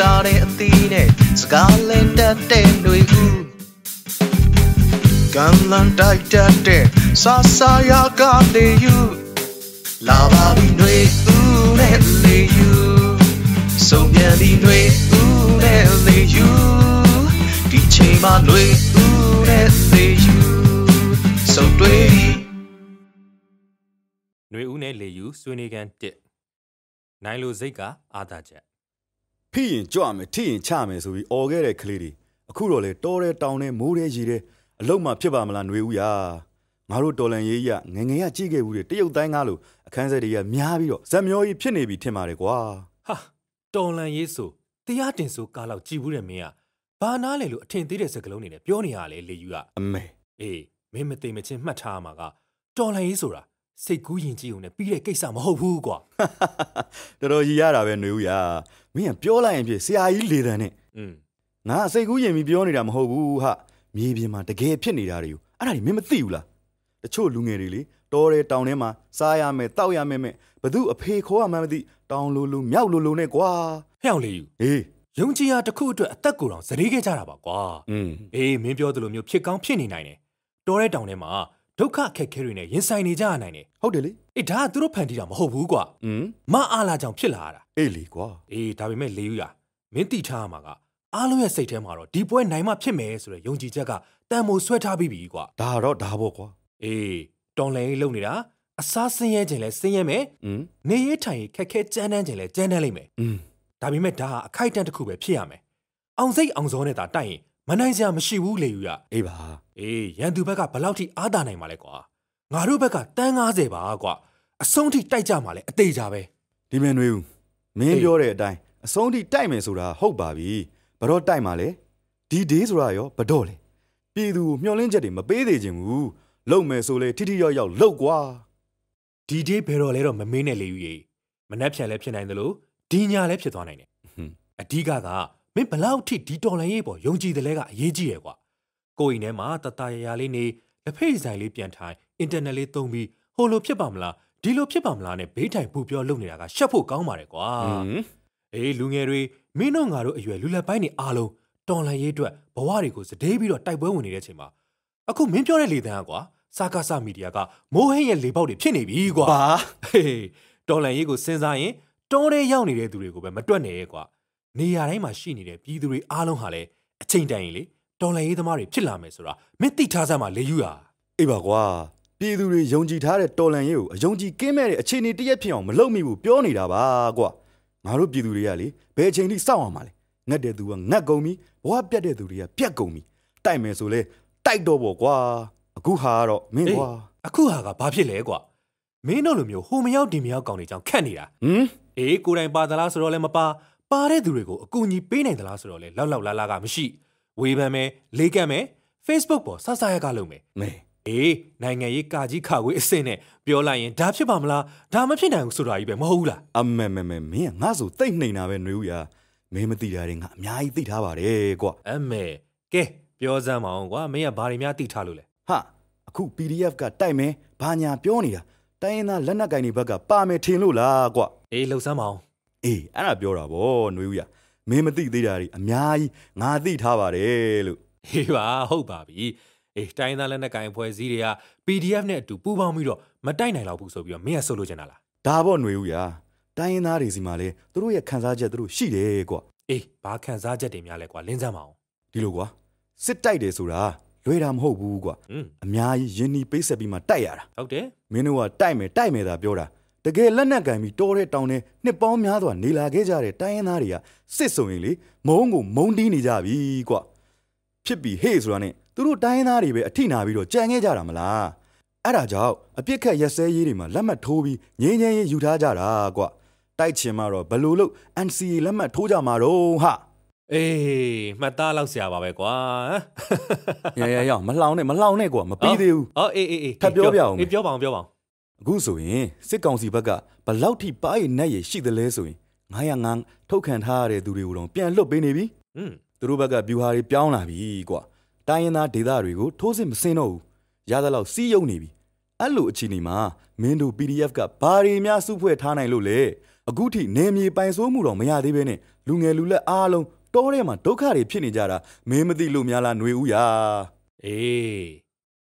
တာတဲ့အသီးနဲ့စကားလင်းတတ်တဲ့ຫນွေဦးကံလန်တိုက်တတ်တဲ့ဆာဆာယာကလေယူလာပါပြီຫນွေဦးနဲ့လေယူဆုံးပြန်ပြီຫນွေဦးနဲ့လေယူဒီချိန်မှာຫນွေဦးနဲ့လေယူဆုံးတွေ့ပြီ ຫນွေဦးနဲ့လေယူဆွေးနွေးခန်း1နိုင်လိုစိတ်ကအာသာချက် ဖိရင်ကြွမယ်ထိရင်ချမယ်ဆိုပြီးអော်ခဲ့တဲ့ကလေးတွေအခုတော့လေတော်တဲ့တောင်တဲ့မိုးတဲ့ရေတဲ့အလုံးမှဖြစ်ပါမလားຫນွေဦးရာငါတို့တော်လန်ရေးရငယ်ငယ်ရကြည့်ခဲ့ဘူးတဲ့တရုတ်တိုင်းကားလို့အခန်းဆက်တွေကများပြီးတော့ဇက်မျောကြီးဖြစ်နေပြီထင်ပါတယ်ကွာ ဟာတော်လန်ရေးဆိုတရားတင်ဆိုကားလောက်ကြည်ဘူးတဲ့မင်းကဘာနားလဲလို့အထင်သေးတဲ့စကားလုံးတွေနဲ့ပြောနေရလေလေယူကအ မေ အေးမင်းမသိမချင်းမှတ်ထားရမှာကတော်လန်ရေးဆိုတာစိတ်ကူးယဉ်ကျေးုံနဲ့ပြီးတဲ့ကိစ္စမဟုတ်ဘူးကွာ တော်တော်ရည်ရတာပဲຫນွေဦးရာမင်းကပြောလိုက်ရင်ဖြစ်ဆရာကြီးလေတံနဲ့ อืม ငါအစိတ်ကူးရင်ပြီးပြောနေတာမဟုတ်ဘူးဟာမြေပြင်မှာတကယ်ဖြစ်နေတာတွေကိုအဲ့ဒါတွေမင်းမသိဘူးလားတချို့လူငယ်တွေလေတော်တဲ့တောင်ထဲမှာစားရမယ်တောက်ရမယ်မဲ့ဘသူအဖေခေါ်ရမှန်းမသိတောင်လိုလိုမြောက်လိုလိုနဲ့ကွာ ဟဲ့အောင်လေယူ အေး ယုံကြည်ရာတစ်ခုအတွက်အသက်ကိုယ်တော်ဇရီးခဲ့ကြတာပါကွာ อืม အေးမင်းပြောသလိုမျိုးဖြစ်ကောင်းဖြစ်နေနိုင်တယ်တော်တဲ့တောင်ထဲမှာဒုက္ခအခက်အခဲတွေနဲ့ရင်ဆိုင်နေကြရနိုင်တယ် ဟုတ်တယ်လေ အေးဒါကသူတို့ဖန်တီးတာမဟုတ်ဘူးကွာ อืม မအားလာကြောင်ဖြစ်လာရတာ အေးလေကွာ အေးဒါပေမဲ့လေယူရမင်းတိထားရမှာကအားလုံးရဲ့စိတ်ထဲမှာတော့ဒီပွဲနိုင်မှဖြစ်မယ်ဆိုတဲ့ယုံကြည်ချက်ကတန်မိုးဆွဲထားပြီးပြီကွာ ဒါတော့ဒါပေါ့ကွာ အေးတောင်းလဲရေးလုံနေတာအစားဆင်းရဲခြင်းလဲဆင်းရဲမယ် อืม နေရေးထိုင်ရေးခက်ခဲကြမ်းတမ်းခြင်းလဲကြမ်းတမ်းလိမ့်မယ် อืม ဒါပေမဲ့ဒါဟာအခိုက်အတန့်တစ်ခုပဲဖြစ်ရမယ်အောင်စိတ်အောင်စောနဲ့သာတိုက်ရင်မနိုင်စရာမရှိဘူးလေယူရ အေးပါ အေးရန်သူဘက်ကဘယ်လောက်ထိအားတာနိုင်မှာလဲကွာငါတို့ဘက်ကတန်း90ပါကွာအဆုံးထိတိုက်ကြမှာလဲအသေးကြပဲ ဒီမင်းတွေဦးမင်း အေး ပြောတဲ့အတိုင်းအဆုံးထိတိုက်မယ်ဆိုတာဟုတ်ပါပြီဘတော့တိုက်မှာလဲဒီဒေးဆိုတာရောဘတော့လဲပြည်သူကိုမျှော်လင့်ချက်တွေမပေးသေးခြင်းဘူးလုံမယ်ဆိုလေထိထိရောက်ရောက်လုံကွာ ဒီဒေးဘယ်တော့လဲတော့မမင်းနဲ့လေယူရေမနှက်ဖြန်လဲဖြစ်နိုင်တယ်လို့ဒီညာလဲဖြစ်သွားနိုင်တယ် ဟွန်း အဓိကကမင်းဘလောက်ထိဒီတော်လန်ရေးပေါ်ယုံကြည်တယ်လဲကအရေးကြီးရယ်ကွာကိုယ်အိမ်ထဲမှာတတရရလေးနေလက်ဖေးဆိုင်လေးပြန်ထိုင်အင်တာနက်လေးသုံးပြီးဟိုလိုဖြစ်ပါမလားဒီလိုဖြစ်ပါမလားနဲ့ဘေးထိုင်ပူပြောလုပ်နေတာကရှက်ဖို့ကောင်းပါတယ်ကွာ อืม အေးလူငယ်တွေမင်းတို့ငါတို့အရွယ်လူလက်ပိုင်းတွေအားလုံးတော်လန်ရေးအတွက်ဘဝတွေကိုစတဲ့ပြီးတော့တိုက်ပွဲဝင်နေတဲ့အချိန်မှာအခုမင်းပြောတဲ့လေသံကကွာစာကားစာမီဒီယာကမိုးဟဲ့ရဲ့လေပေါက်တွေဖြစ်နေပြီကွာ ပါ ဟေးတော်လန်ရေးကိုစဉ်းစားရင်တောထဲရောက်နေတဲ့သူတွေကိုပဲမတွက်နဲ့ကွာနေရာတိုင်းမှာရှိနေတဲ့ပြည်သူတွေအားလုံးဟာလည်းအချိန်တန်ရင်လေတော်လန်ရေးသမားတွေဖြစ်လာမယ်ဆိုတာမင်းသိထားစမ်းမှာလေယူရ အေးပါကွာပြည်သူတွေယုံကြည်ထားတဲ့တော်လန်ရေးကိုအယုံကြည်ကင်းမဲ့တဲ့အခြေအနေတစ်ရက်ဖြစ်အောင်မလုပ်မိဘူးပြောနေတာပါကွာငါတို့ပြည်သူတွေကလေဘယ်အချိန်ထိစောင့်အောင်မလဲငတ်တဲ့သူကငတ်ကုန်ပြီဘဝပြတ်တဲ့သူတွေကပြတ်ကုန်ပြီတိုက်မယ်ဆိုလဲတိုက်တော့ပေါ့ကွာအခုဟာကတော့မင်း အေး ကွာ အခုဟာကဘာဖြစ်လဲကွာမင်းတို့လိုမျိုးဟိုမရောက်ဒီမရောက်ကောင်တွေကြောင့်ခက်နေတာ ဟင် အေးကိုယ်တိုင်ပါသလားဆိုတော့လည်းမပါပါတဲ့သူတွေကိုအကူအညီပေးနိုင်သလားဆိုတော့လည်းလောက်လောက်လာလာကမရှိဝေဖန်မယ်လေးကပ်မယ် Facebook ပေါ်ဆဆရကလုပ်မယ် မေ အေးနိုင်ငံရေးကာကြီးခါဝေးအစင်းနဲ့ပြောလိုက်ရင်ဒါဖြစ်ပါမလားဒါမဖြစ်နိုင်ဘူးဆိုတာကြီးပဲမဟုတ်ဘူးလား အမေမေမေမင်းကငါ့ဆိုတိတ်နှိမ်တာပဲຫນွေဦးရာမင်းမသိတာတွေငါအများကြီးသိထားပါတယ်ကွာ အမေကဲပြောစမ်းမအောင်ကွာမင်းကဘာတွေများတိထားလို့လဲ ဟာအခု PDF ကတိုက်မယ်ဘာညာပြောနေတာတိုင်းရင်းသားလက်နက်ကင်တွေဘက်ကပါမယ်ထင်လို့လားကွ အေးလှုပ်စမ်းမအောင် အေးအဲ့ဒါပြောတာဗောနှွေဦးရမင်းမသိသေးတာတွေအများကြီးငါသိထားပါတယ်လို့ ဟေးပါဟုတ်ပါပြီအေးတိုင်းသားလက်နက်ကင်အဖွဲ့အစည်းတွေက PDF နဲ့အတူပူးပေါင်းပြီးတော့မတိုက်နိုင်တော့ဘူးဆိုပြီးတော့မင်းကဆုတ်လို့ချင်တာလား ဒါဗောနှွေဦးရတိုင်းရင်းသားတွေစီမှာလဲသူတို့ရဲ့ခံစားချက်သူတို့ရှိတယ်ကွ အေးဘာခံစားချက်တွေများလဲကွာလင်းစမ်းမအောင် ဒီလိုကွာစစ်တိုက်တယ်ဆိုတာလွယ်တာမဟုတ်ဘူးကွ อืม အများကြီးယင်းနီပိတ်ဆက်ပြီးမှတိုက်ရတာ ဟုတ်တယ် မင်းတို့ကတိုက်မယ်တိုက်မယ်သာပြောတာတကယ်လက်နက်ကင်ပြီးတော်တဲ့တောင်ထဲနှစ်ပေါင်းများစွာနေလာခဲ့ကြတဲ့တိုင်းရင်းသားတွေကစစ်ဆိုရင်လေမုံကိုမုံတီးနေကြပြီကွဖြစ်ပြီဟေ့ဆိုတာနဲ့သူတို့တိုင်းရင်းသားတွေပဲအထိနာပြီးတော့ကြံခဲ့ကြတာမလားအဲ့ဒါကြောင့်အပြစ်ခတ်ရက်စဲရေးတွေမှာလက်မှတ်ထိုးပြီးငင်းငင်းရေးယူထားကြတာကွတိုက်ချင်မှတော့ဘယ်လို့လို့ NCA လက်မှတ်ထိုးကြမှာတော့ဟာ အေးမှတ်သားလောက်ဆရာပါပဲကွာ ရရရမလှောင်နဲ့မလှောင်နဲ့ကွမပြီးသေးဘူး အော်အေးအေးအေး ထပ်ပြောပြအောင် အေးပြောပါအောင်ပြောပါအောင် အခုဆိုရင်စစ်ကောင်စီဘက်ကဘလောက်ထိပါးရည်နဲ့ရည်ရှိသလဲဆိုရင်905ထုတ်ခံထားရတဲ့သူတွေကိုတော့ပြန်လွတ်ပေးနေပြီ อืม သူတို့ဘက်ကဗျူဟာတွေပြောင်းလာပြီကွာတိုင်းရင်းသားဒေသတွေကိုထိုးစစ်မစင်တော့ဘူးရသလောက်စီးယုံနေပြီအဲ့လိုအခြေအနေမှာမင်းတို့ PDF ကဘာတွေများစုဖွဲ့ထားနိုင်လို့လဲ အခုထိနေမြေပိုင်ဆိုးမှုတော့မရသေးဘဲနဲ့လူငယ်လူလက်အားလုံးတောထဲမှာဒုက္ခတွေဖြစ်နေကြတာမင်းမသိလို့များလားຫນွေဦးရာ အေး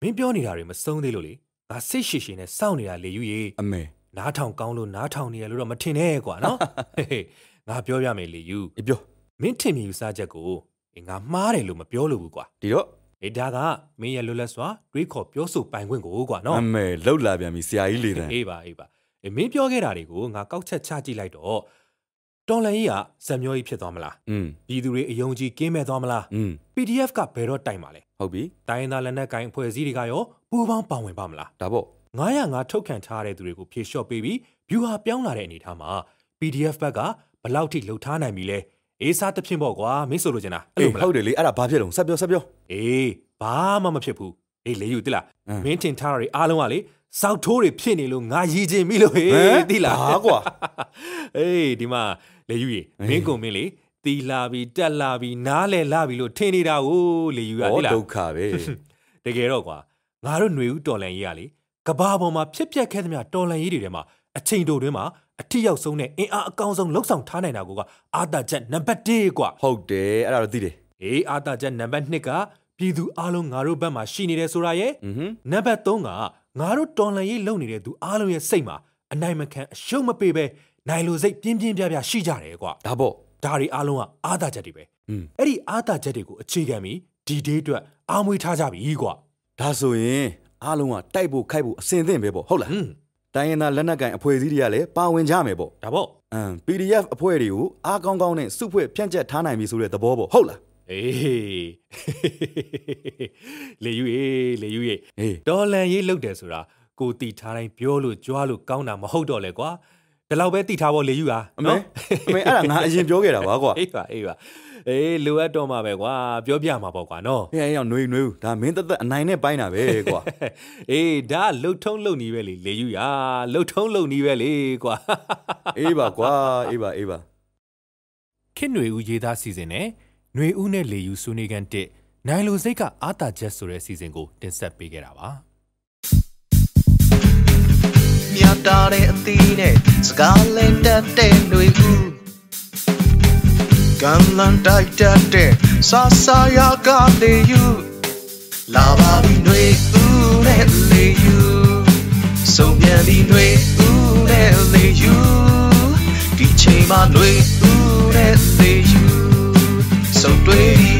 မင်းပြောနေတာတွေမဆုံးသေးလို့လေငါစိတ်ရှိရှိနဲ့စောင့်နေတာလေယူရေ အမေ နားထောင်ကောင်းလို့နားထောင်နေရလို့တော့မထင်နဲ့ကွာနော် ဟေးဟေးငါပြောပြမယ်လေယူ အေးပြော မင်းထင်မြင်ယူဆချက်ကိုအေးငါမှားတယ်လို့မပြောလို့ဘူးကွာ ဒီတော့ အေးဒါကမင်းရဲ့လွတ်လပ်စွာတွေးခေါ်ပြောဆိုပိုင်ခွင့်ကိုကွာနော် အမေလှုပ်လာပြန်ပြီဆရာကြီးလေတန် အေးပါအေးပါအေးမင်းပြောခဲ့တာတွေကိုငါကောက်ချက်ချကြည့်လိုက်တော့တော်လန်ကြီးကဇံမျိုးကြီးဖြစ်သွားမလား อืม ပြည်သူတွေအယုံကြည်ကင်းမဲ့သွားမလား อืม PDF ကဘယ်တော့တိုင်ပါလဲ ဟုတ်ပြီ တိုင်းရင်းသားလက်နက်ကိုင်အဖွဲ့အစည်းတွေကရောပူးပေါင်းပါဝင်ပါမလား ဒါပေါ့ 905ထုတ်ခံထားတဲ့သူတွေကိုဖြေလျှော့ပေးပြီး view ဟာပြောင်းလာတဲ့အနေအထားမှာ PDF ဘက်ကဘယ်လောက်ထိလှုပ်ထားနိုင်ပြီလဲအေးစားတစ်ဖြင့်ပေါ့ကွာမင်းဆိုလိုချင်တာအဲ့ အေး လိုမ ဟု လား တ်တယ်လေအဲ့ဒါဘာဖြစ်လုံးဆက်ပြောဆက်ပြော အေးဘာမှမဖြစ်ဘူးအေးလေယူတိလား အင်း မင်းတင်ထားတာတွေအားလုံးကလေစောက်ထိုးတွေဖြစ်နေလို့ငါရည်ချင်ပြီလို့ဟေးတိလား ဟာကွာ အေးဒီမှာလေယူရေမင်းကုန်မင်းလေတီလာပြီးတက်လာပြီးနားလဲလာပြီးလို့ထင်နေတာကိုလေယူရ ဟော တိလား ဒုက္ခပဲ တကယ်တော့ကွာငါတို့ຫນွေဦးတော်လန်ရေးရလေကဘာပေါ်မှာဖြစ်ပျက်ခဲ့သမျှတော်လန်ရေးတွေထဲမှာအချိန်တိုတွင်းမှာအထီရောက်ဆုံးနဲ့အင်အားအကောင်းဆုံးလှုပ်ဆောင်ထားနိုင်တာကိုကအာတာချက်နံပါတ်1ကွာ ဟုတ်တယ်အဲ့ဒါတော့သိတယ် အေးအာတာချက်နံပါတ်2ကပြည်သူအလုံးငါတို့ဘက်မှာရှိနေတယ်ဆိုတာရဲ့ อือဟึ နံပါတ်3ကငါတို့တော်လန်ရေးလုပ်နေတဲ့သူအလုံးရဲ့စိတ်မှာအနိုင်မခံအရှုံးမပေးပဲနိုင်လိုစိတ်ပြင်းပြင်းပြပြရှိကြတယ်ကွာ ဒါပေါ့ ဒါတွေအားလုံးကအာသာချက်တွေပဲ อืม အဲ့ဒီအာသာချက်တွေကိုအခြေခံပြီးဒီဒေးအတွက်အားမွေးထားကြပြီကွာ ဒါဆိုရင်အားလုံးကတိုက်ဖို့ခိုက်ဖို့အစင်သင့်ပဲပေါ့ဟုတ်လား ဟွန်း တိုင်းရင်သားလက်နက်ကန်အဖွဲ့အစည်းတွေကလည်းပါဝင်ကြမယ်ပေါ့ ဒါပေါ့ အမ် PDF အဖွဲ့တွေကိုအားကောင်းကောင်းနဲ့စုဖွဲ့ဖြန့်ကျက်ထားနိုင်ပြီဆိုတဲ့သဘောပေါ့ဟုတ်လား အေး လေယူရေလေယူရေ ဟေး တော်လန်ရေးလောက်တယ်ဆိုတာကိုတီထားတိုင်းပြောလို့ကြွားလို့ကောင်းတာမဟုတ်တော့လေကွာဒီလောက်ပဲတီထားဖို့လေယူဟာ အမေအမေအဲ့ဒါငါအရင်ပြောခဲ့တာပါကွာ အေးပါအေးပါအေးလိုအပ်တော့မှာပဲကွာပြောပြမှာပေါ့ကွာနော် ဟေးအဲ့ရောက်ຫນွေຫນွေဦးဒါမင်းသက်သက်အနိုင်နဲ့ပိုင်းတာပဲကွာ အေးဒါလှုပ်ထုံးလှုပ်နီးပဲလေလေယူဟာလှုပ်ထုံးလှုပ်နီးပဲလေကွာ အေးပါကွာအေးပါအေးပါ ခင်ຫນွေဦးရေးသားစီစဉ်နဲ့ຫນွေဦးနဲ့လေယူဆွေးနွေးကန်တစ်နိုင်လိုစိတ်ကအာတာချက်ဆိုတဲ့စီစဉ်ကိုတင်ဆက်ပေးခဲ့တာပါ မြတ်တာတဲ့အသီးနဲ့စကားလဲတတ်တဲ့တွေကူကံလန်တိုက်တတ်တဲ့ဆာဆာယာကလေယူလာပါပြီတွေဦးနဲ့လေယူစုံပြန်ပြီတွေဦးနဲ့လေယူဒီချိန်မှာတွေဦးနဲ့လေယူစုံတွေ့ပြီ